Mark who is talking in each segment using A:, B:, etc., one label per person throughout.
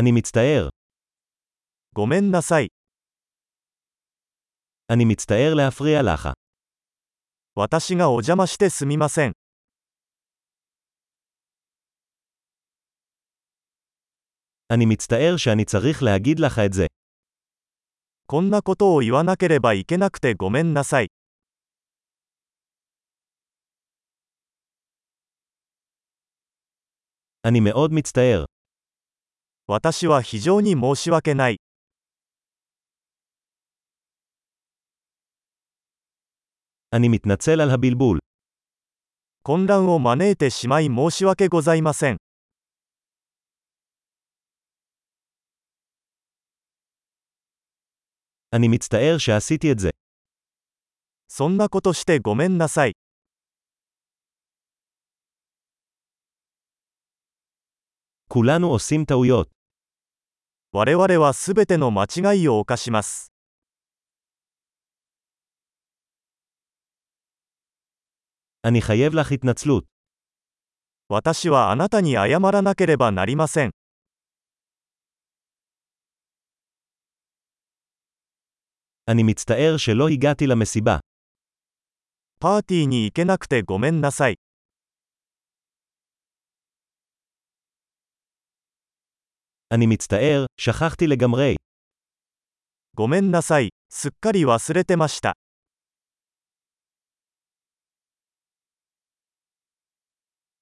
A: אני מצטער.
B: ごめんなさい。
A: אני מצטער להפריע לך.
B: 私がお邪魔してすみません。
A: אני מצטער שאני צריך להגיד לך את זה.
B: こんなことを言わなければいけなくてごめんなさい。
A: אני מאוד מצטער.
B: 私は非常に申し訳ない。
A: אני מתנצל על הבלבול.
B: 混乱を招いてしまい申し訳ございません。
A: אני מצטער שעשיתי את זה.
B: そんなことしてごめんなさい。
A: כולנו עושים טעויות.
B: 我々はすべての間違いを犯します。
A: אני חייב לך התנצלות.
B: 私はあなたに謝らなければなりません。
A: אני מצטער שלא הגעתי למסיבה.
B: パーティーに行けなくてごめんなさい。
A: אני מצטער, שכחתי לגמרי.
B: ごめんなさい。すっかり忘れてました。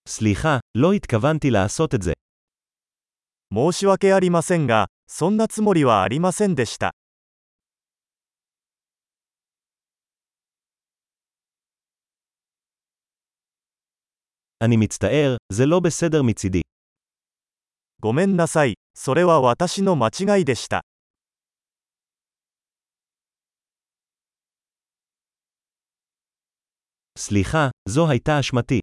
A: סליחה, לא התכוונתי לעשות את זה.
B: 申し訳ありませんが、そんなつもりはありませんでした。
A: אני מצטער, זה לא בסדר מצידי.
B: ごめんなさい。それは私の間違いでした。
A: סליחה, זו הייתה אשמתי.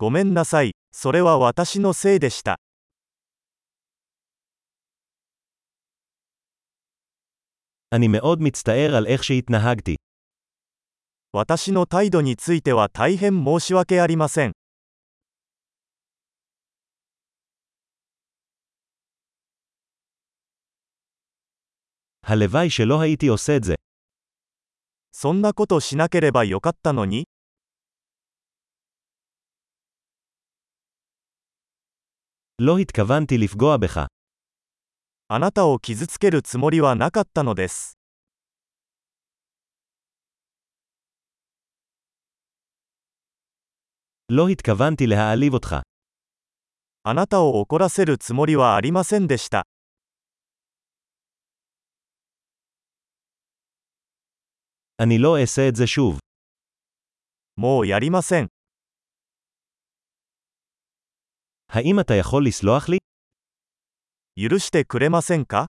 B: ごめんなさい。それは私のせいでした。
A: אני מאוד מצטער על איך שהתנהגתי.
B: 私の態度については大変申し訳ありません。
A: הלוואי שלא הייתי עושה את זה.
B: そんなことしなければよかったのに、
A: לא התכוונתי לפגוע בך.
B: あなたを傷つけるつもりはなかったのです。
A: לא התכוונתי להעליב אותך.
B: あなたを怒らせるつもりはありませんでした。
A: אני לא אעשה את זה שוב.
B: もうやりません。
A: האם אתה יכול לסלוח לי?
B: 許してくれませんか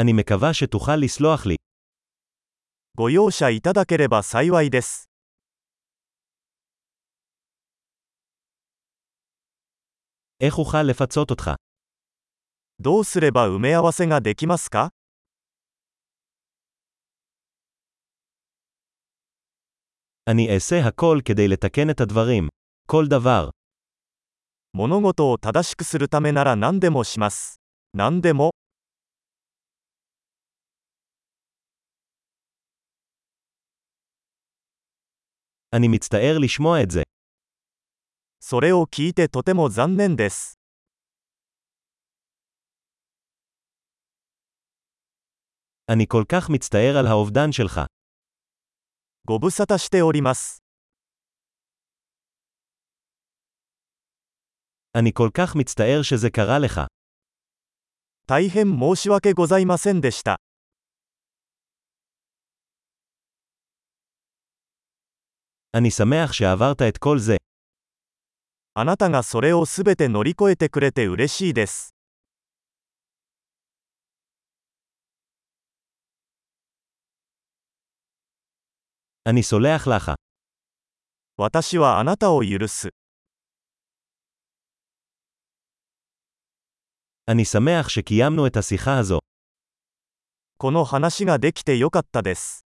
A: אני מקווה שתוכל לסלוח לי.
B: ご容赦いただければ幸いです。
A: איך אוכל לפצות אותך?
B: どうすれば埋め合わせができますか
A: אני אעשה הכל כדי לתקן את הדברים. כל דבר.
B: 物事を正しくするためなら何でもします。何でも、
A: אני מצטער לשמוע את זה.
B: それを聞いてとても残念です。
A: אני כל כך מצטער על האובדן שלך.
B: ご無沙汰しております。
A: אני כל כך מצטער שזה קרה לך.
B: 大変申し訳ございませんでした。
A: אני שמח שעברת את כל זה.
B: あなたがそれをすべて乗り越えてくれて嬉しいです。
A: אני סולח לך.
B: 私はあなたを許す。
A: אני שמח שקיימנו את השיחה הזו.
B: この話ができてよかったです。